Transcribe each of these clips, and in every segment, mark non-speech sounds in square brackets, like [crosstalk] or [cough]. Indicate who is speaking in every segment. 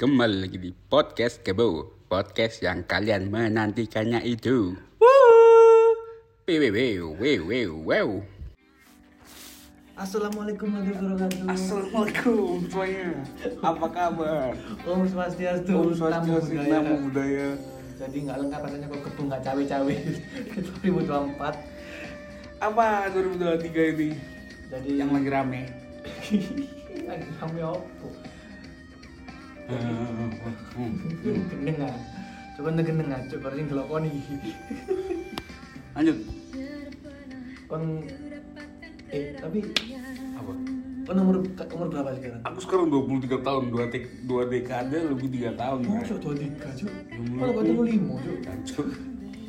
Speaker 1: Kembali lagi di Podcast Kebo Podcast yang kalian menantikannya itu Wew, wew, wew, wew, wew.
Speaker 2: Assalamualaikum warahmatullahi wabarakatuh.
Speaker 3: Assalamualaikum semuanya. Apa kabar?
Speaker 2: Om Swastiastu, tamu
Speaker 3: Om Swastiastu,
Speaker 2: budaya.
Speaker 3: Namo Buddhaya.
Speaker 2: Jadi nggak lengkap rasanya kalau ketum nggak cawe-cawe. [laughs] 2024.
Speaker 3: Apa 2023 ini?
Speaker 2: Jadi
Speaker 3: Yang lagi rame.
Speaker 2: [laughs] lagi rame opo.
Speaker 1: Eh,
Speaker 2: Gendeng ah. Coba ngegendeng ah, coba sing delokoni.
Speaker 3: Lanjut.
Speaker 2: Kon eh tapi
Speaker 3: Apa?
Speaker 2: kon umur umur berapa sekarang?
Speaker 3: Aku sekarang 23 tahun, 2 dek, 2 dekade lebih 3 tahun.
Speaker 2: Aku
Speaker 3: Kak.
Speaker 2: cok 23, cok.
Speaker 3: Umur-
Speaker 2: Kalau kau 25, cok.
Speaker 3: Kacau.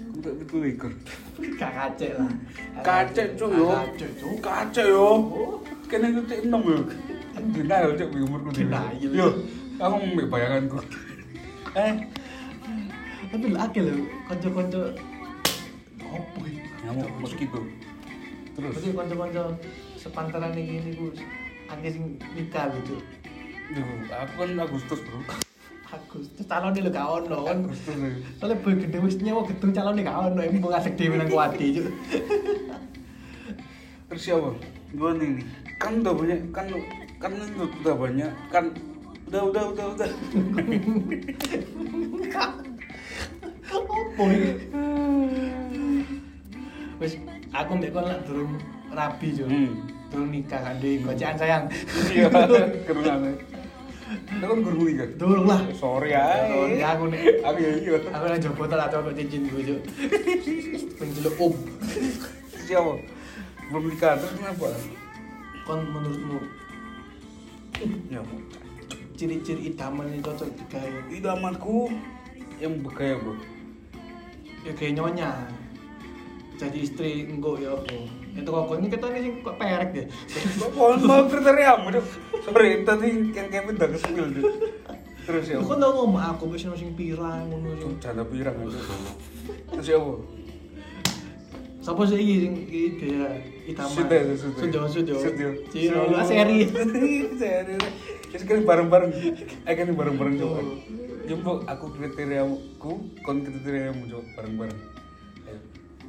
Speaker 3: Aku tak betul ikut.
Speaker 2: [laughs] Gak kacek lah. Oh.
Speaker 3: Kacau cuy yo.
Speaker 2: Kacek, cok.
Speaker 3: Kacau yo. Kena itu cek enam yo. Denial cek di umurku dhewe.
Speaker 2: Denial.
Speaker 3: Yo, aku mbek bayanganku.
Speaker 2: eh tapi lu akeh lho kanca-kanca opo iki
Speaker 3: Ngamuk mosquito. Terus.
Speaker 2: berarti kanca-kanca sepantaran iki niku akeh sing nikah gitu
Speaker 3: Duh, aku kan Agustus, Bro.
Speaker 2: [laughs] Agustus calonnya lho gak ono kan
Speaker 3: Agustus. ya.
Speaker 2: soalnya boy gede wis nyewa gedung calonnya gak ono emang ngasek dhewe nang kuwati cuk
Speaker 3: Terus siapa? Gue nih nih. Kan udah banyak kan kan lu udah banyak kan udah udah udah udah.
Speaker 2: opo iki wis aku mbek kon lak durung rabi cuk
Speaker 3: Hmm.
Speaker 2: durung nikah kan dhewe gocekan sayang
Speaker 3: Iya, kerunane. Kita kan guru kan.
Speaker 2: durung lah
Speaker 3: Sorry ya.
Speaker 2: Sorry, aku nih.
Speaker 3: Aku ya iya.
Speaker 2: aku nang jowo botol atau kok cincin gue cuk penjeluk om
Speaker 3: Terus siapa? Belum nikah terus kenapa?
Speaker 2: kon menurutmu
Speaker 3: Ya,
Speaker 2: ciri-ciri idaman yang cocok digaya
Speaker 3: idamanku yang bergaya bro.
Speaker 2: ya gaya nyonya jadi istri engko ya apa itu kok kon ini kita ini sing kok perek ya? deh
Speaker 3: Mau mau kriteria mu deh. Sebenarnya tadi yang Kevin udah kesepil deh. Terus
Speaker 2: Lu
Speaker 3: siapa?
Speaker 2: kan tau ngomong aku bisa sing pirang ngono sing
Speaker 3: Janda pirang itu. Terus siapa?
Speaker 2: sapa sih iki sing iki dia idaman
Speaker 3: Sudah, sudah.
Speaker 2: sudah sudah
Speaker 3: Sudah.
Speaker 2: Ciro, lu
Speaker 3: [laughs]
Speaker 2: seri
Speaker 3: Seri. Terus kan bareng-bareng. Eh kan bareng-bareng coba. Jumbo aku kriteriaku, kon kriteriamu coba bareng-bareng. Ayo.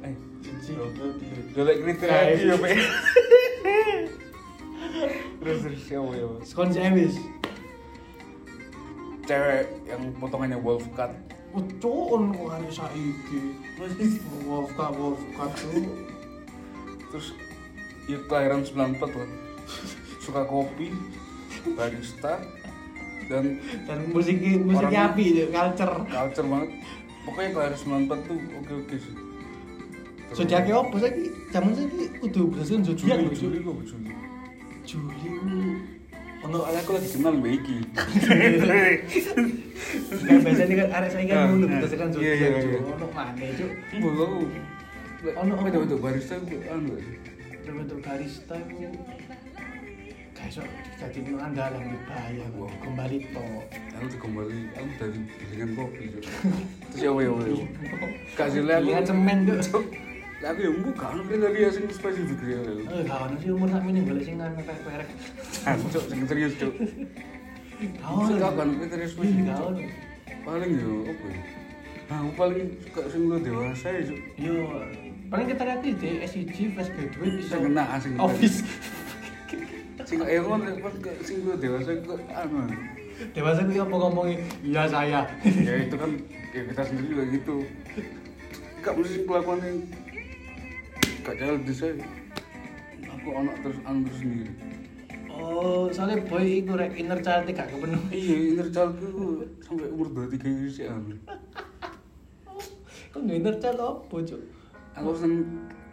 Speaker 3: Eh,
Speaker 2: Cici.
Speaker 3: Jolek kriteria
Speaker 2: Ayo.
Speaker 3: iki yo, Pak. [laughs] Terus terus siapa ya? Pak?
Speaker 2: sekon sih wis
Speaker 3: Cewek yang potongannya wolf cut.
Speaker 2: Ucun Oh, kok hari saiki Wolfka Wolfka tuh
Speaker 3: Terus ya kelahiran 94 lah. Suka kopi, barista, dan
Speaker 2: dan musiknya musiknya
Speaker 3: Orang-
Speaker 2: api itu culture
Speaker 3: culture banget pokoknya kelahiran 94 tuh oke oke sih
Speaker 2: Zodiaknya apa sih? Zaman saya udah berdasarkan zodiak
Speaker 3: Juli
Speaker 2: loh
Speaker 3: Juli kok Juli
Speaker 2: Juli
Speaker 3: ono ada [laughs] aku lagi kenal Mbak Iki
Speaker 2: Kayak biasanya kan arek saya kan
Speaker 3: Nah,
Speaker 2: dulu
Speaker 3: nah.
Speaker 2: berdasarkan
Speaker 3: Ah, Iya,
Speaker 2: zodiak Cuk.
Speaker 3: iya, iya.
Speaker 2: Ono mana cuk?
Speaker 3: Mbak aku
Speaker 2: Ono,
Speaker 3: ono
Speaker 2: ono.
Speaker 3: ada untuk barista aku anu
Speaker 2: Terbentuk barista itu Kayak sok jadi andalan di bahaya
Speaker 3: Wow.
Speaker 2: kembali to.
Speaker 3: aku tuh kembali aku dari dengan kopi Cuk. terus ya ya ya kasih lihat
Speaker 2: Dengan
Speaker 3: aku
Speaker 2: semen tuh.
Speaker 3: Cuk. Lah, aku ya mbak kan kriteria sing spesifik ya Cuk.
Speaker 2: Eh, gak ono sih umur sak mene golek sing ngene perek.
Speaker 3: Cuk, sing serius cuk
Speaker 2: Gak ono.
Speaker 3: Sing gak ono kriteria spesifik,
Speaker 2: Gak
Speaker 3: Cuk.
Speaker 2: ono.
Speaker 3: paling ya apa ya Nah, aku paling suka sing lu dewasa ya Cuk.
Speaker 2: Yo, paling kita lihat di SIG fresh graduate bisa
Speaker 3: Sing kena, sing kena.
Speaker 2: office
Speaker 3: sing eh kan sing lu dewasa kok anu
Speaker 2: dewasa gue apa ngomongin iya saya
Speaker 3: ya itu kan ya kita sendiri juga gitu kak mesti kelakuan yang gak jalan di saya aku anak terus anggur sendiri
Speaker 2: oh soalnya boy itu rek inner child gak kepenuhi
Speaker 3: iya inner childku itu sampai umur 23 ini sih anu
Speaker 2: kok nggak inner child apa cuk
Speaker 3: aku sen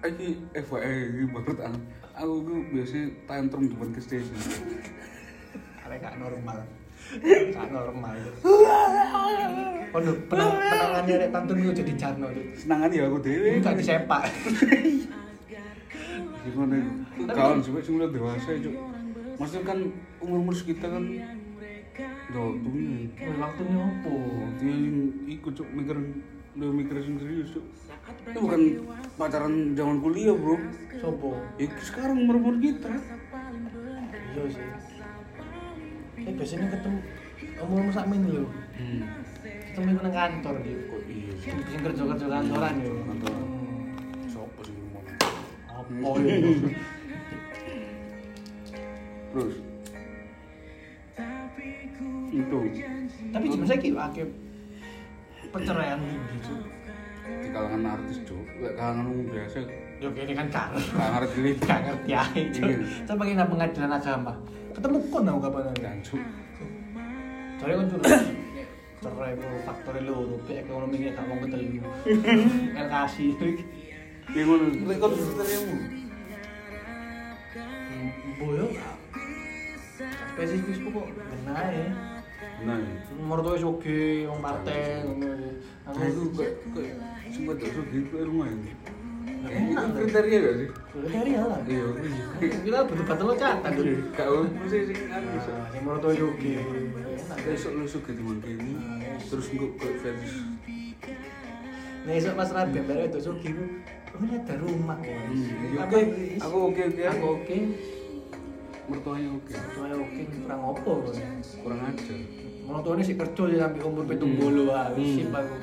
Speaker 3: aku FYI ini baru anu aku tuh biasanya tantrum depan ke station
Speaker 2: karena gak [laughs] normal gak [laughs] normal Waduh, penang, penangannya rek tantun gue jadi jarno tuh
Speaker 3: senangan ya aku dewe
Speaker 2: ini gak disepak
Speaker 3: gimana kawan sih cuma udah dewasa ya cuk maksudnya kan umur-umur sekitar kan udah waktunya
Speaker 2: Wih, waktunya apa?
Speaker 3: Dia ikut cuk mikir udah mikir sing serius cuk. Itu bukan pacaran zaman kuliah bro.
Speaker 2: Sopo?
Speaker 3: Ya sekarang umur umur kita.
Speaker 2: Iya sih Eh biasanya ketemu Omong sak min lho.
Speaker 3: Hmm.
Speaker 2: Ketemu iku nang kantor yo.
Speaker 3: Kok iya?
Speaker 2: Sing kerja-kerja kantoran yo.
Speaker 3: Kantor. Sopo sih ngomong?
Speaker 2: Apa yo?
Speaker 3: Terus. Itu
Speaker 2: Tapi jeneng saiki akeh perceraian tinggi Cuk.
Speaker 3: di kalangan artis cuk, Nggak kalangan umum biasa.
Speaker 2: Yo kene kan kar.
Speaker 3: Gak ngerti lih.
Speaker 2: [laughs] Gak ngerti ae Cuk.
Speaker 3: Iya.
Speaker 2: Coba kita pengadilan agama. Ketemu kon aku kapan ae.
Speaker 3: Dan cuk.
Speaker 2: Soalnya kan curut cerai itu faktornya lu rupiah ekonomi kita mau ketelu
Speaker 3: [laughs]
Speaker 2: kan kasih
Speaker 3: Ini Ya, ngono. Lek kon ceritanya
Speaker 2: boyo spesifik kok kena ya
Speaker 3: Nah,
Speaker 2: nomor tuh oke orang partai ngono ya. aku
Speaker 3: aku Nah, kayak kayak cuma tak suka gitu rumah ini.
Speaker 2: Nah,
Speaker 3: Ini
Speaker 2: enak,
Speaker 3: kriteria gak sih?
Speaker 2: dari lah
Speaker 3: Iya.
Speaker 2: kita butuh batal kata dulu
Speaker 3: Iya. Gak apa sih sih kan bisa.
Speaker 2: Nah, nomor tuh oke enak ya.
Speaker 3: Besok lu suka di ini, terus gue kayak fans.
Speaker 2: nah esok pas rapi baru itu oke bu oh ini ada rumah guys
Speaker 3: Hmm.
Speaker 2: Apa-
Speaker 3: Oke, aku oke oke
Speaker 2: aku
Speaker 3: aku
Speaker 2: oke
Speaker 3: mertuanya oke.
Speaker 2: tuanya oke kurang opo guys.
Speaker 3: Kurang aja.
Speaker 2: Monotonnya sih kerja ya sampai umur
Speaker 3: Hmm.
Speaker 2: pitung bolu ae sih aku.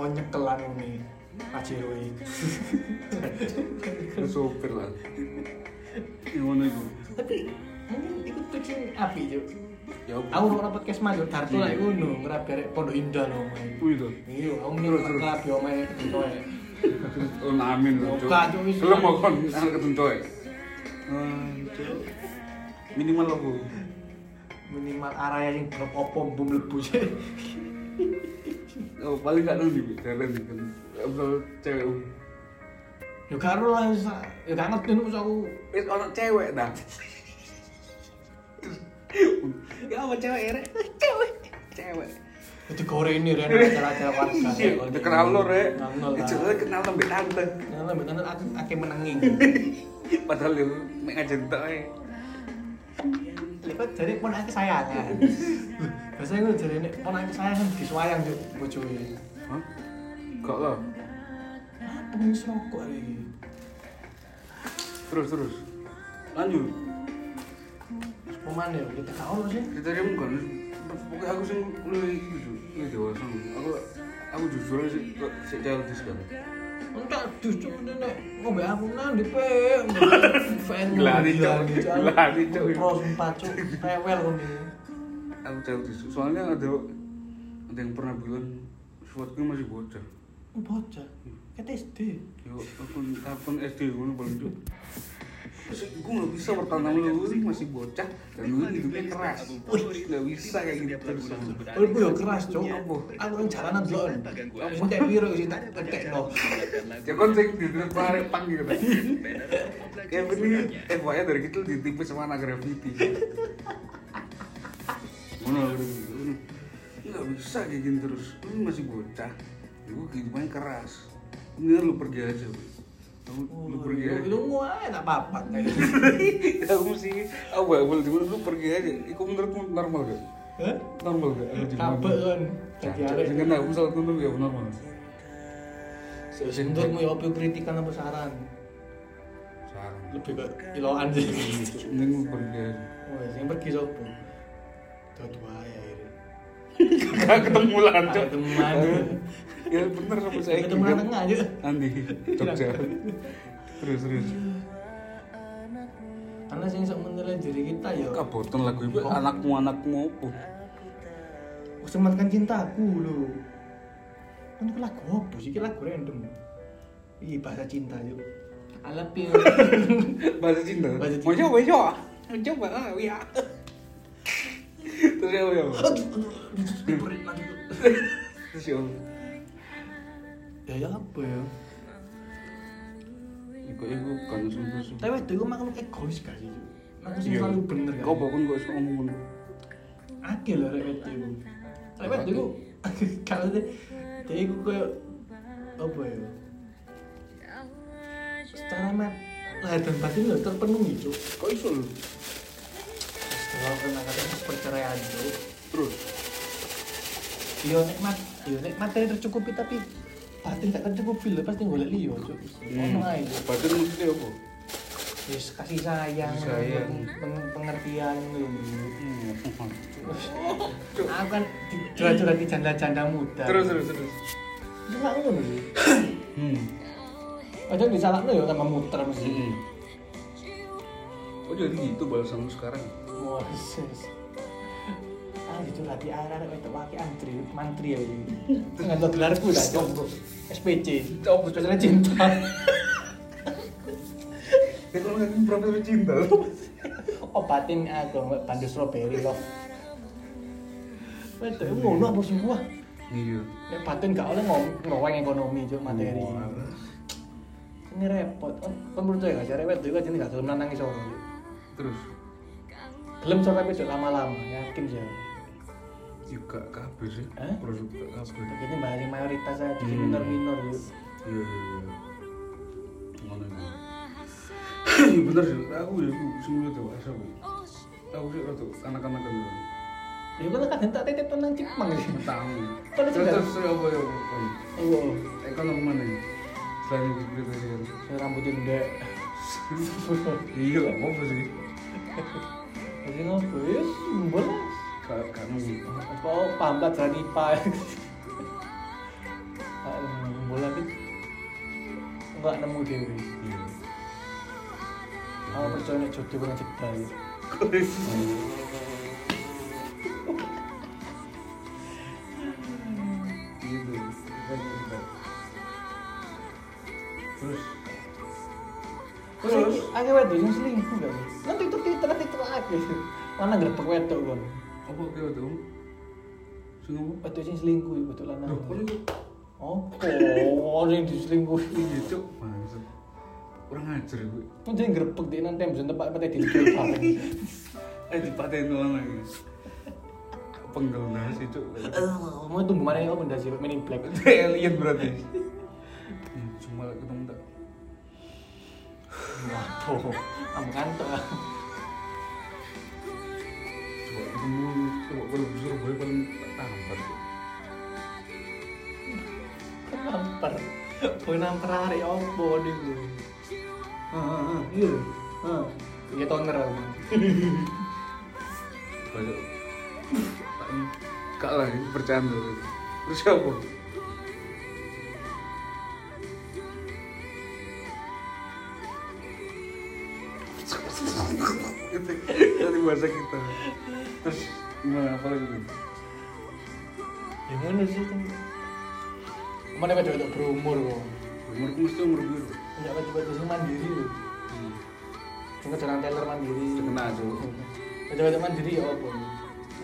Speaker 2: Oh nyekelan ini Pajero
Speaker 3: [laughs]
Speaker 2: ini.
Speaker 3: Terus sopir lah. Yang mana itu?
Speaker 2: Tapi mungkin itu tuh sih api juga.
Speaker 3: Ya apa?
Speaker 2: Aku mau podcast maju kartu lah itu no ngerapir pondok indah loh.
Speaker 3: Wih tuh.
Speaker 2: Iya, aku nyuruh kerap ya main itu ya.
Speaker 3: Terus oh amin tuh.
Speaker 2: Oh,
Speaker 3: Cuk.
Speaker 2: gak, Cuk, Hmm. wis.
Speaker 3: Gelem mau kon anak ketentuan. Minimal aku.
Speaker 2: Minimal area yang blok opo bom lebu sih.
Speaker 3: Oh paling gak nol di jalan di kan. Abdul cewek. um.
Speaker 2: Yo karo lah, Sa. yo gak ngerti nih aku.
Speaker 3: Wis orang cewek dah.
Speaker 2: Ya apa cewek ya?
Speaker 3: Cewek.
Speaker 2: Itu gore ini Ren, acara-acara warga.
Speaker 3: Itu kenal lo rek.
Speaker 2: Kenal lah.
Speaker 3: Itu kenal lo mbak tante.
Speaker 2: Kenal lah, bener aku akeh menengi.
Speaker 3: Padahal lu mek ngajen tok eh. ae.
Speaker 2: Lipat jadi pun aku kesayangan. Biasanya gue jadi ini pun aku kesayangan disuayang tuh bojone.
Speaker 3: Hah? Gak lah.
Speaker 2: Apa yang sokok ini?
Speaker 3: Terus terus. Lanjut.
Speaker 2: Peman ya, kita kau sih.
Speaker 3: Kita dia bukan. Pokoknya aku sih lu jujur, lu dewasa. Aku aku jujur aja sih kok sih childish kan.
Speaker 2: Enggak justru ini nek ngombe aku nanti pe. Fan
Speaker 3: Gelari, Cok. Gelari, Cok.
Speaker 2: Terus empat cok. Rewel kau nih.
Speaker 3: Aku childish. Soalnya ada ada yang pernah bilang suatu masih bocah.
Speaker 2: Bocah. Kita SD.
Speaker 3: Yo, aku aku SD ngono paling tuh. Terus gue nggak bisa bertahan sama lu, lu masih bocah dan lu hidupnya keras. Wih, nggak bisa kayak gitu terus.
Speaker 2: Kalau gue keras cok. Aku aku yang jalanan dulu. Aku kayak biru sih tak petek no.
Speaker 3: Ya kan sing di tarik pang gitu. Ya bener, FYI dari kecil ditipis sama anak graffiti. Ngono aku udah gitu. Enggak bisa kayak gini terus. Lu masih bocah. Lu kehidupannya keras. Mendingan lu pergi aja, Bro. Lu, lu pergi aja.
Speaker 2: Oh, iya. Lu mau enak apa-apa.
Speaker 3: Kamu sih, aku gak boleh cuma lu pergi aja. Iku menurutmu normal gak?
Speaker 2: Hah?
Speaker 3: Normal gak? Aku jadi
Speaker 2: Kabel
Speaker 3: normal.
Speaker 2: kan. Jadi
Speaker 3: Cacak,
Speaker 2: arek.
Speaker 3: Sing kena aku salah tuntut ya normal.
Speaker 2: Menurutmu ya apa kritikan apa saran?
Speaker 3: Sarang.
Speaker 2: Lebih ke kiloan sih.
Speaker 3: Mending lu pergi aja.
Speaker 2: Wes yang pergi sopo? Tuh wae akhirnya.
Speaker 3: Gak ketemu lah, Cok.
Speaker 2: Gak ketemu lah.
Speaker 3: Ya bener sama saya.
Speaker 2: Ketemu anak Iya. tengah aja.
Speaker 3: Nanti Jogja. Terus terus.
Speaker 2: Karena sing sok menilai diri kita ya.
Speaker 3: Kabotan lagu ibu anakmu anakmu opo.
Speaker 2: Sematkan cintaku lho. Kan iku lagu opo sih? Iki lagu random. Ih bahasa cinta yo. I love you.
Speaker 3: Bahasa cinta.
Speaker 2: Bahasa cinta.
Speaker 3: Mau coba coba. Mau coba ah ya. Terus ya ya. Terus ya.
Speaker 2: ya ya apa ya?
Speaker 3: Iku iku kan sumpah sumpah.
Speaker 2: Tapi itu iku makhluk egois gak sih? Cuk? Makhluk sing
Speaker 3: Iya.
Speaker 2: selalu bener gak?
Speaker 3: Kau bahkan gak suka ngomong.
Speaker 2: akeh lho rek wedok iku. Rek wedok iku [laughs] kalau dia dia iku koyo apa ya? Secara mat lahir dan batin lho terpenuhi cuk.
Speaker 3: Kau iso lu.
Speaker 2: Setelah kena kata perceraian cuk.
Speaker 3: Terus.
Speaker 2: Yo nikmat, yo nikmat materi tercukupi tapi batin gak tercukupi lho pasti golek liyo cuk.
Speaker 3: Hmm.
Speaker 2: Ono ae Cuk.
Speaker 3: Badan maksudnya apa?
Speaker 2: Yes, kasih sayang,
Speaker 3: Kasih sayang.
Speaker 2: peng- peng- pengertian lho.
Speaker 3: Hmm.
Speaker 2: Aku kan curhat-curhat di janda-janda muda.
Speaker 3: Terus terus terus.
Speaker 2: Itu nggak ngono sih.
Speaker 3: Hmm.
Speaker 2: Padahal disalahno ya sama muter mesti.
Speaker 3: Hmm. Oh jadi gitu balasan lu sekarang?
Speaker 2: Wah, sis. Ah, itu lati arah-arah itu pakai antri, mantri ya ini. Dengan lo gelarku dah, coba. SPC, coba spesialnya cinta. [laughs]
Speaker 3: Ya kalau nggak profil cinta lu.
Speaker 2: Obatin aku, mbak, bandu strawberry love. Betul, ngono apa sih gua?
Speaker 3: Iya. Oh,
Speaker 2: Nek batin gak oleh ngom- ngoweng ekonomi cuk materi. Ini repot. Oh, Kan percaya gak cari wet itu jadi gak gelem nang iso.
Speaker 3: Terus
Speaker 2: Gelem sore besok lama-lama, yakin sih. aku.
Speaker 3: juga kabel sih.
Speaker 2: Hah?
Speaker 3: Terus juga kabel.
Speaker 2: Ini bahas yang mayoritas aja, jadi
Speaker 3: Hmm.
Speaker 2: minor-minor yuk.
Speaker 3: Iya iya iya. Ngono iku. Iya bener sih. Aku ya aku semuanya dewasa aku. Aku sih rada anak-anak kan.
Speaker 2: Ya kan kadang tak titip tenang cipmang sih.
Speaker 3: Tahu.
Speaker 2: Kalau
Speaker 3: Terus
Speaker 2: juga-
Speaker 3: terus terus apa ya? apa, apa?
Speaker 2: Oh,
Speaker 3: Ekonomi mana ya? Selain itu kriteria.
Speaker 2: saya rambutnya ndek.
Speaker 3: Iya lah, apa sih?
Speaker 2: Jadi ngopo ya, boleh.
Speaker 3: Ka- Karena
Speaker 2: Apa oh, pambat dari pa. Boleh kan? Enggak nemu dewi.
Speaker 3: Iya.
Speaker 2: Aku percaya nek jodoh kurang cedal.
Speaker 3: Gitu. Kan, kan. Terus
Speaker 2: Terus Kan akeh wedok sing selingkuh gak sih? Nanti itu Twitter Twitter akeh. Mana grebek wedok kon.
Speaker 3: apa kira tuh? Sing apa?
Speaker 2: Wedok sing selingkuh iku wedok lanang.
Speaker 3: Loh, kok ini-
Speaker 2: Opo sing diselingkuhi?
Speaker 3: Iya, Cuk. Maksud. Kurang ajar gue.
Speaker 2: Kok jadi grebek deh nanti mesen tempat tempat di luar bareng.
Speaker 3: Eh, dipatahin doang lagi. Penggal nasi, Cuk.
Speaker 2: Mau itu gimana ya? Kok benda sih? Men in black.
Speaker 3: Itu alien berarti. Hmm, Cuma lagi ketemu tak.
Speaker 2: Waduh, kamu kantor.
Speaker 3: Coba ketemu, coba kalau di Surabaya paling tak tampar. Cuk.
Speaker 2: Nampar. Boy nampar hari Eh, opo nih gue.
Speaker 3: Ah, ah, ah.
Speaker 2: Iya. Hah. Iya toner aku.
Speaker 3: Banyak. Tak ini. Kak lah, ini bercanda. Terus siapa? Itu dari bahasa kita. Terus gimana apa lagi?
Speaker 2: Ya mana sih kan? Mana ada wedok berumur kok.
Speaker 3: Umurku Hmm, mesti umur biru.
Speaker 2: Enggak ada wedok sing mandiri lho. Cuma jalan teller mandiri.
Speaker 3: Terkena tuh.
Speaker 2: Wedok-wedok mandiri ya opo.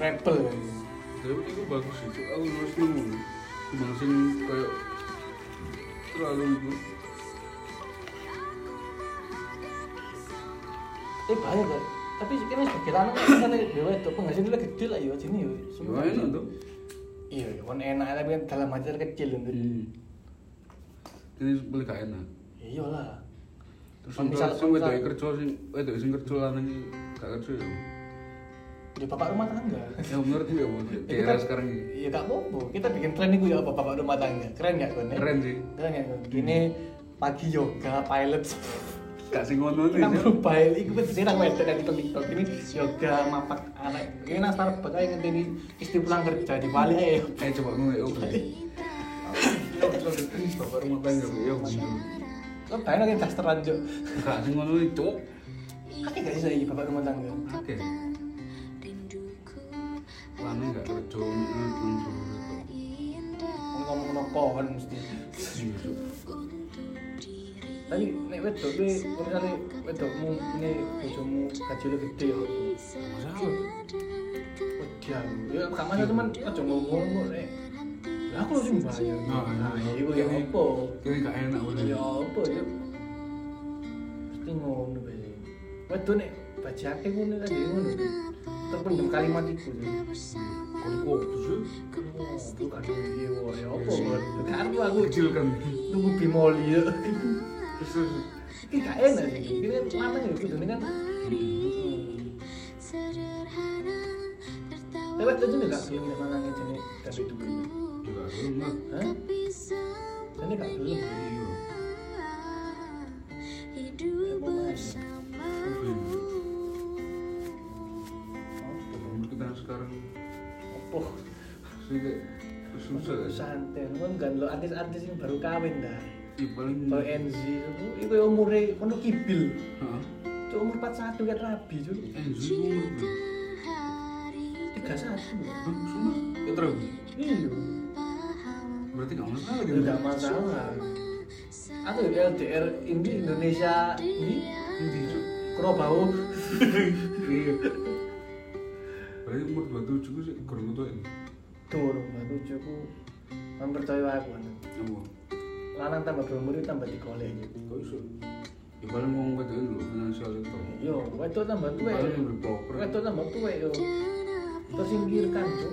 Speaker 2: Rebel kan.
Speaker 3: Tapi itu bagus itu. Aku harus nemu. Cuma sing kayak terlalu itu.
Speaker 2: Eh bahaya kan. Tapi kene sebagai lanang kan sana dewe wedok penghasilannya gede lah ya sini ya. Sumpah.
Speaker 3: Gimana tuh?
Speaker 2: Iya, ya kan enak tapi kan dalam hati kecil lho.
Speaker 3: Hmm. Ini boleh gak enak.
Speaker 2: Ya Iyalah.
Speaker 3: Terus
Speaker 2: Kan
Speaker 3: misal
Speaker 2: misal-
Speaker 3: sing wedoke
Speaker 2: misal-
Speaker 3: kerja sing wedoke sing kerja lanang iki gak kerja ya. [laughs]
Speaker 2: Udah bapak rumah tangga.
Speaker 3: Ya menurut gue ya Bu.
Speaker 2: Ya,
Speaker 3: Era sekarang ini
Speaker 2: Iya gak apa-apa. Kita bikin tren itu ya apa bapak rumah tangga. Keren gak kan?
Speaker 3: keren sih. Hmm.
Speaker 2: Keren gak kan? Ini pagi yoga pilot.
Speaker 3: Gak sing ngono nih.
Speaker 2: Kita
Speaker 3: Cuk.
Speaker 2: berubah. Iku kan sih nang wedok dari TikTok ini yoga mapak anak. Ini nang Starbucks aja ngerti ini istri pulang kerja di Bali aja.
Speaker 3: Eh coba ngono ya oke. Yo terus bapak rumah tangga Bu. yo.
Speaker 2: Lo bayangin lagi tas teranjuk.
Speaker 3: Gak sing ngono iki, Cuk.
Speaker 2: Oke gak sih saya bapak rumah tangga?
Speaker 3: Oke. Lanang gak kerja ngono ngono.
Speaker 2: Ngomong-ngomong pohon mesti.
Speaker 3: Iya,
Speaker 2: Tapi nek wedok kuwi misale wedokmu ini bojomu kajule gede ya.
Speaker 3: Masalah.
Speaker 2: Wedian. Ya gak masalah cuman aja ngomong kok nek. Lah aku sing bayar.
Speaker 3: Nah, nah,
Speaker 2: iku ya
Speaker 3: ini-
Speaker 2: opo?
Speaker 3: Ini gak enak udah.
Speaker 2: Ya opo ya. Mesti ngono bae. Wedok nek bajake ngono kan ya ngono. Terpendam kalimat iku. Oh,
Speaker 3: Kon kok tuh.
Speaker 2: Aku kan iya woy, ya opo kan. Gak aku aku
Speaker 3: Kecil kan.
Speaker 2: nunggu bimoli ya. [laughs]
Speaker 3: Terus terus.
Speaker 2: Ini gak enak sih, ini kan lanang ya, kudune kan Tapi waktu itu Eh, gak gelem nek lanang jenis dan itu
Speaker 3: Juga seneng.
Speaker 2: Hah? Ini gak gelem
Speaker 3: Iya.
Speaker 2: Ya, mau main.
Speaker 3: Apa ini? Menurut kita sekarang
Speaker 2: Apa?
Speaker 3: sudah susah ya.
Speaker 2: Susah.
Speaker 3: guys.
Speaker 2: Santai, kan kan lo artis-artis yang baru kawin dah.
Speaker 3: Ih, paling
Speaker 2: Kalau NZ itu, itu umurnya kono kibil.
Speaker 3: Hah? Eh,
Speaker 2: Itu umur 41 kan rabi cuy.
Speaker 3: Enzo itu umur berapa?
Speaker 2: 31.
Speaker 3: Hah? Sumpah? Kok terlalu?
Speaker 2: Iya.
Speaker 3: Berarti nggak masalah
Speaker 2: Ya
Speaker 3: gitu.
Speaker 2: enggak masalah. Aku ya LDR ini Indonesia ini
Speaker 3: Ini, Cuk.
Speaker 2: Kerobau.
Speaker 3: Iya. Berarti umur 27 sih kurang tua ini.
Speaker 2: [laughs] Dorong aku cukup mempercaya aku. anak.
Speaker 3: Apa?
Speaker 2: Lanang tambah berumur itu tambah digoleh gitu.
Speaker 3: Kok iso? Ya paling mau ngebedain dulu finansial itu.
Speaker 2: Yo, wedok tambah tuwek.
Speaker 3: Paling lebih proper.
Speaker 2: Wedok tambah tuwek yo. Tersingkirkan tuh.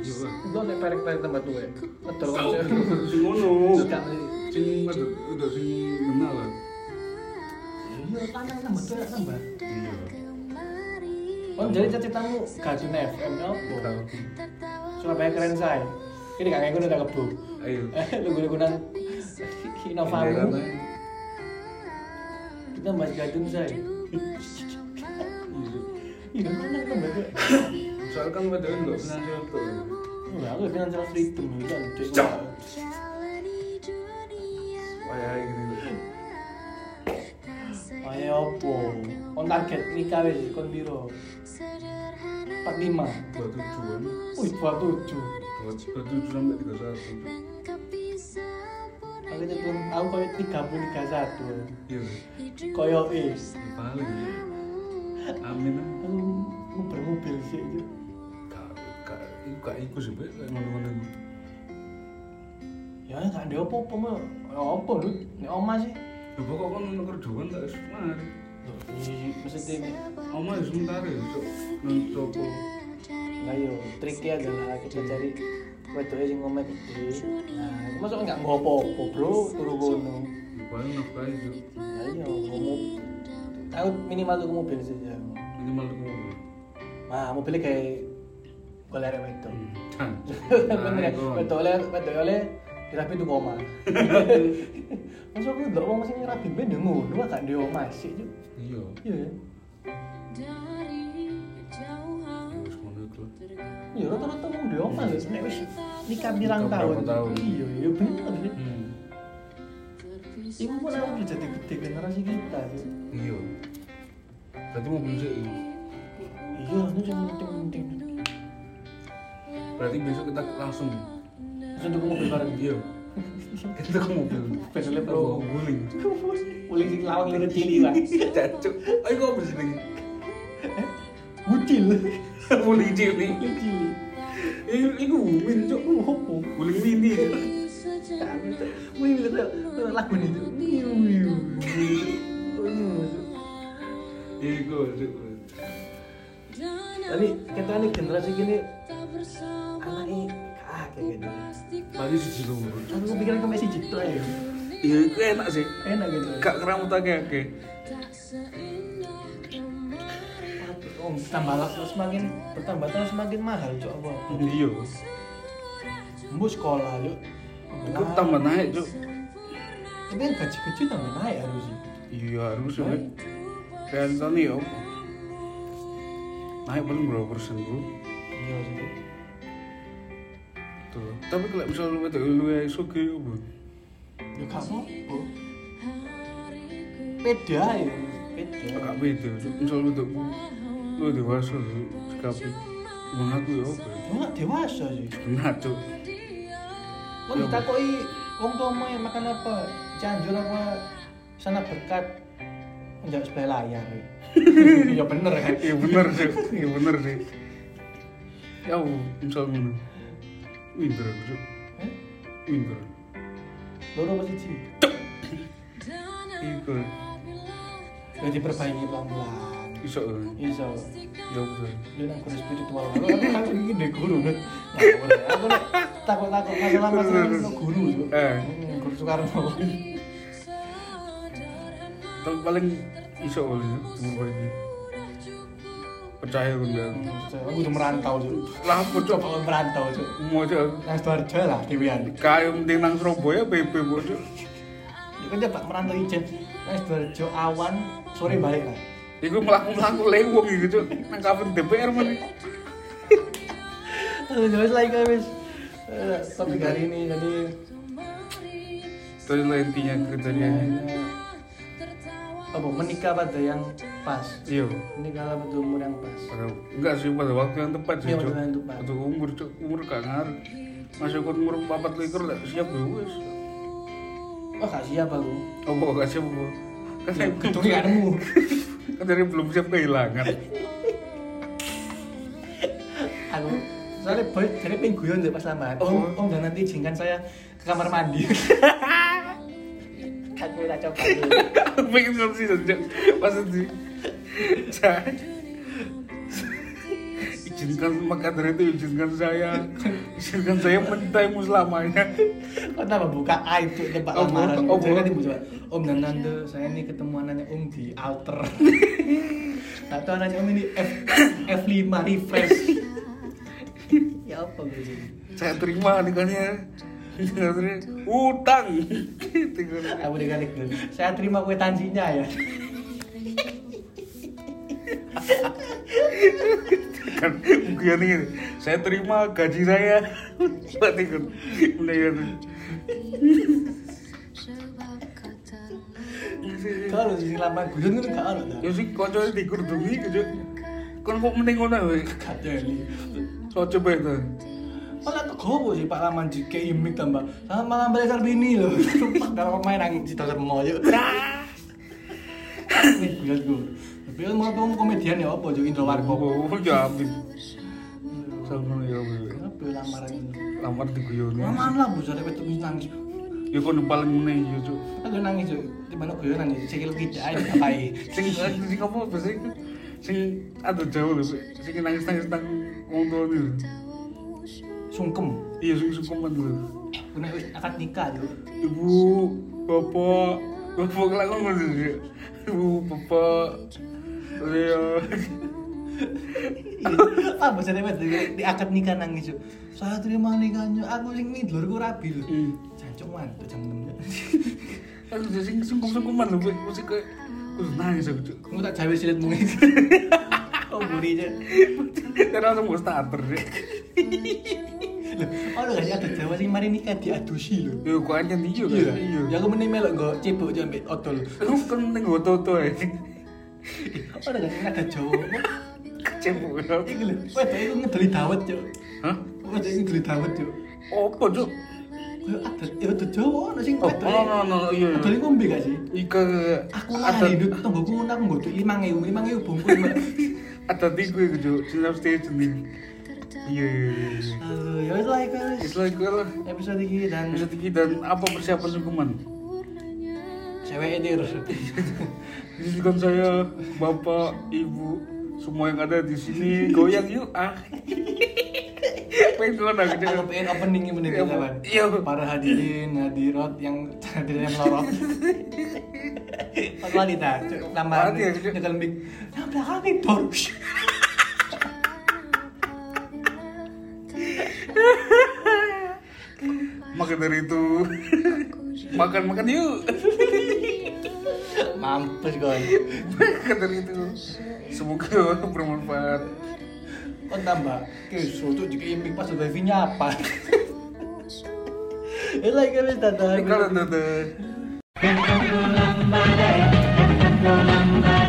Speaker 3: Iya, Pak.
Speaker 2: Lo nek perek-perek tambah tuwek. Ngedol kan
Speaker 3: Tahu,
Speaker 2: konsep.
Speaker 3: sing ngono.
Speaker 2: Sudah.
Speaker 3: Sing udah udah sing kenal lah.
Speaker 2: Iya, lanang tambah tuwek tambah.
Speaker 3: Iya.
Speaker 2: Oh, jadi cita-citamu Gajun FM ya, apa?
Speaker 3: Tahu.
Speaker 2: Surabaya keren say. Ini kakek gue udah kebu.
Speaker 3: Ayo.
Speaker 2: Eh, Lugu-lugu nang
Speaker 3: Daerah
Speaker 2: Inovamu.
Speaker 3: lain.
Speaker 2: Kita bahas gadun say.
Speaker 3: Iya, Cuk.
Speaker 2: Iya, mana kan baca?
Speaker 3: Soalnya kan ngebedain dulu finansial itu.
Speaker 2: Wah, aku dengan salah freedom gitu kan. Cuk.
Speaker 3: Cuk. Wah, gitu.
Speaker 2: Ayo opo. On target nikah wis kon piro? 45.
Speaker 3: 27 an
Speaker 2: Wih, 27.
Speaker 3: tujuh sampai tiga satu
Speaker 2: Aku itu belum aku koyo 30
Speaker 3: iya
Speaker 2: 31. Koyo is.
Speaker 3: ya paling ya amin lah
Speaker 2: Aku nguber mobil sih itu.
Speaker 3: gak gak itu gak ikut sih Bek, kayak ngono-ngono itu
Speaker 2: Ya gak ada opo-opo mah. Ya opo lu? Nek oma sih.
Speaker 3: ya pokok kan untuk kerjaan tak harus mari
Speaker 2: Loh, iya, Maksudnya
Speaker 3: oma ya sementara ya cok mencoba
Speaker 2: Nah, yo, triknya adalah kita cari wedoknya sing ngomel gede. Nah, masuk enggak mau apa-apa, Bro, turu kono.
Speaker 3: ya paling nafkah itu
Speaker 2: Nah, iya, ngomong. Aku minimal tuku mobil saja.
Speaker 3: minimal tuh mobil
Speaker 2: Nah, mobilnya kayak golek arek wedok.
Speaker 3: dan Nah,
Speaker 2: Bener, wedok oleh wedok oleh dirapi tuku
Speaker 3: [laughs]
Speaker 2: omah. Masuk aku ndelok wong sing rapi ben ya ngono, gak ndek omah sik yo.
Speaker 3: iya
Speaker 2: Iya. ya.
Speaker 3: ya wis ngono itu lah
Speaker 2: Iya, rata-rata mau ndek omah ya. Nek wis nikah pirang
Speaker 3: Nikah
Speaker 2: tahun.
Speaker 3: berapa tahun?
Speaker 2: Iya, iya bener. ya.
Speaker 3: hmm
Speaker 2: Ibu pun aku udah jadi gede generasi kita sih.
Speaker 3: iya berarti mobil sih iya.
Speaker 2: Iya, itu yang penting-penting.
Speaker 3: berarti besok kita langsung
Speaker 2: Terus untuk mobil bareng dia.
Speaker 3: iya kita ke mobil
Speaker 2: Besoknya
Speaker 3: kita
Speaker 2: pro.
Speaker 3: bawa guling
Speaker 2: Uling sing lawang lirik cili lah.
Speaker 3: Cacuk. Ayo kok bisa nih?
Speaker 2: Bucil.
Speaker 3: Guling cili.
Speaker 2: Lirik cili.
Speaker 3: Ini ini win cok.
Speaker 2: Lu hopo.
Speaker 3: Guling mini.
Speaker 2: Wih, lihat tuh, tuh lagu ini tuh. Wiu, wiu, wiu. Aduh, tuh.
Speaker 3: Iya kok cok.
Speaker 2: Tapi kita nih generasi gini anaknya kakek gitu.
Speaker 3: Tadi siji loro.
Speaker 2: Aku kepikiran kamu masih citra ya.
Speaker 3: Iya itu enak sih.
Speaker 2: Enak gitu.
Speaker 3: Kak keramut oke oke.
Speaker 2: Om, tambah lama semakin bertambah tahun semakin mahal cok apa.
Speaker 3: Iya.
Speaker 2: Mbok sekolah yuk.
Speaker 3: Itu tambah naik cok.
Speaker 2: Tapi kan gaji gaji tambah naik harusnya.
Speaker 3: Iya harus ya. Rentan ya. apa? Naik paling berapa persen bro?
Speaker 2: Iya maksudnya.
Speaker 3: Tuh. Tapi kalau misalnya lu betul lu ya oke bro.
Speaker 2: Ya gak apa-apa. Beda ya. Beda.
Speaker 3: Kakak beda. Cuk. Misalnya lu tuh lu dewasa lu sekapi. Mengaku ya apa?
Speaker 2: Ya gak dewasa sih.
Speaker 3: Benar cok.
Speaker 2: Lo ditakoi wong tuamu yang makan apa? Cianjur apa? Sana berkat. Menjawab sebelah layar. [laughs] ya bener kan.
Speaker 3: Iya bener sih, iya bener sih. Ya, misal ngono. Winter aku cuk,
Speaker 2: Eh?
Speaker 3: winter.
Speaker 2: Loro apa siji?
Speaker 3: Iku
Speaker 2: Ya diperbaiki pelan-pelan.
Speaker 3: iso kan?
Speaker 2: Iso.
Speaker 3: Ya aku sih.
Speaker 2: Lu nang guru spiritual. Lu [laughs] kan iki ndek guru. Nut. Ya, ora. Aku nek takut-takut masalah-masalah nang guru. Cuk.
Speaker 3: Eh.
Speaker 2: Hmm, Guru Soekarno. [laughs]
Speaker 3: Tapi paling iso kali ya, umur ini. Percaya kan aku.
Speaker 2: Aku udah merantau Cuk.
Speaker 3: Lah aku cuk,
Speaker 2: Aku merantau Cuk.
Speaker 3: mau cuk.
Speaker 2: Nang Sidoarjo lah dewean.
Speaker 3: Kayak mending nang Surabaya PP bu cuk.
Speaker 2: Ya kan coba merantau ijen. Nah, Sidoarjo awan sore balik lah.
Speaker 3: Iku melaku melaku lewung gitu cuk. Nang kapan DPR mana?
Speaker 2: Aduh, wes lagi wes. Eh, Topik hari ini jadi
Speaker 3: Terus lah intinya kerjanya.
Speaker 2: apa menikah pada yang pas.
Speaker 3: Iya.
Speaker 2: Menikah pada umur yang pas.
Speaker 3: Pada- Enggak sih pada waktu yang tepat sih.
Speaker 2: Iya, pada
Speaker 3: Cuk.
Speaker 2: waktu yang tepat.
Speaker 3: Untuk umur cuk umur gak ngaruh. Masih kon umur 44 lah siap ya wes.
Speaker 2: Wah, Oh, gak siap aku.
Speaker 3: Apa gak siap apa? Kan saya belum
Speaker 2: Kecuali kamu.
Speaker 3: kan dari belum siap kehilangan.
Speaker 2: [laughs] Aku soalnya boy jadi pengguyon deh pas lama. Om, om jangan nanti izinkan saya ke kamar [laughs] mandi. Aku tak coba dulu.
Speaker 3: Pengen ngerti sih sejak pas itu. Saya izinkan maka dari itu izinkan saya izinkan saya mentaimu selamanya
Speaker 2: Kok tambah buka aib tuh tempat
Speaker 3: Oh,
Speaker 2: lamaran.
Speaker 3: oh,
Speaker 2: Saya
Speaker 3: oh.
Speaker 2: kan ibu coba. Om dan Nando, saya ini ketemu anaknya Om di [laughs] alter. Tak tahu anaknya Om ini [laughs] F F5 refresh. ya apa gue sih?
Speaker 3: saya terima nikahnya Nikahnya utang Gitu, Tinggal-
Speaker 2: Aku dikalik dulu. Saya terima kwitansinya ya.
Speaker 3: kan bukan ini saya terima gaji saya berarti kan udah ya tuh.
Speaker 2: Kalau sih lama guyon kan gak ada.
Speaker 3: ya sih kocoknya dikurdungi gitu kan kok mending ngono ya, we
Speaker 2: Kadeli.
Speaker 3: so coba itu
Speaker 2: Malah tuh gobo sih Pak Laman jika imik tambah. Sama malam belajar bini loh. Sumpah kalau main angin di dasar moyo. Wih, guyon gue. Tapi kan mau kamu komedian ya apa juga Indro Wargo.
Speaker 3: oh ya amin sama ya we
Speaker 2: Kenapa lamaran ini?
Speaker 3: lamar diguyoni
Speaker 2: Lamaan lah bu, soalnya betul nangis.
Speaker 3: ya kok yang paling meneng ya cuk
Speaker 2: Aku nangis tuh, di mana gue nangis? Cekil tidak aja ngapain?
Speaker 3: sing eh, sing apa biasanya itu sing ada jauh loh we. sing nangis nangis nang ngomong tuh ini.
Speaker 2: Sungkem.
Speaker 3: iya sing sungkeman dulu
Speaker 2: Gue nangis akad nikah tuh.
Speaker 3: ibu bapak bapak kelak ngomong sih ibu bapak Leo
Speaker 2: Ah, bu soalnya betul di akad nikah nangis tuh. Saya terima nikahnya, aku sing midlor gue rabi loh. Jancok mantap jam enam. [laughs]
Speaker 3: kan udah sing sungkum sungkuman loh mesti kayak kudu nangis aku Cuk. [laughs]
Speaker 2: Gue tak jawi silet mungkin. Oh buri aja.
Speaker 3: karena langsung gue starter deh
Speaker 2: Loh, oh lo gak sih ada jawa sing mari nikah diadusi loh.
Speaker 3: yo gua aja nih yo
Speaker 2: Iya,
Speaker 3: iya
Speaker 2: ya aku mending melok gue cebok aja ambil otol.
Speaker 3: lu kan mending gue toto ya
Speaker 2: [laughs] Oh lo gak sih ada jawa?
Speaker 3: cebok ya.
Speaker 2: Iki lho, wedok iku ngedeli dawet, Cuk.
Speaker 3: hah
Speaker 2: Wedok iku ngedeli dawet, Cuk.
Speaker 3: apa cuk
Speaker 2: Koyo adat ya adat Jawa ono sing
Speaker 3: oh no no no iya iya.
Speaker 2: Ngedeli ngombe gak sih?
Speaker 3: Ika
Speaker 2: Aku
Speaker 3: ada
Speaker 2: lari nduk tonggoku aku nggo 5000, 5000 bungkus. Mbak.
Speaker 3: ada tiga gitu jelas stage nih iya iya iya
Speaker 2: Aduh, ya wis lah iku wis.
Speaker 3: It's like well,
Speaker 2: Episode iki dan
Speaker 3: bisa tinggi dan apa persiapan sungkeman
Speaker 2: cewek edir.
Speaker 3: Izinkan saya, bapak, ibu, semua yang ada di sini goyang yuk ah. Pengen gue nang gede.
Speaker 2: Aku pengen opening ini menit
Speaker 3: Iya, Bu.
Speaker 2: kawan.
Speaker 3: Iya, Bu.
Speaker 2: Para hadirin, hadirat yang hadirin yang lorot. Pak wanita, Cuk, nama
Speaker 3: Mati ya, Cuk.
Speaker 2: dengan mic. Nah, belakang nih, Dor.
Speaker 3: Maka dari itu makan makan yuk.
Speaker 2: Mampus gue.
Speaker 3: Maka dari itu semoga bermanfaat.
Speaker 2: Oh tambah, kesu tuh juga iming pas udah nya apa? Eh lagi kan dadah.
Speaker 3: Kalau dadah.
Speaker 4: Mambo, mambo,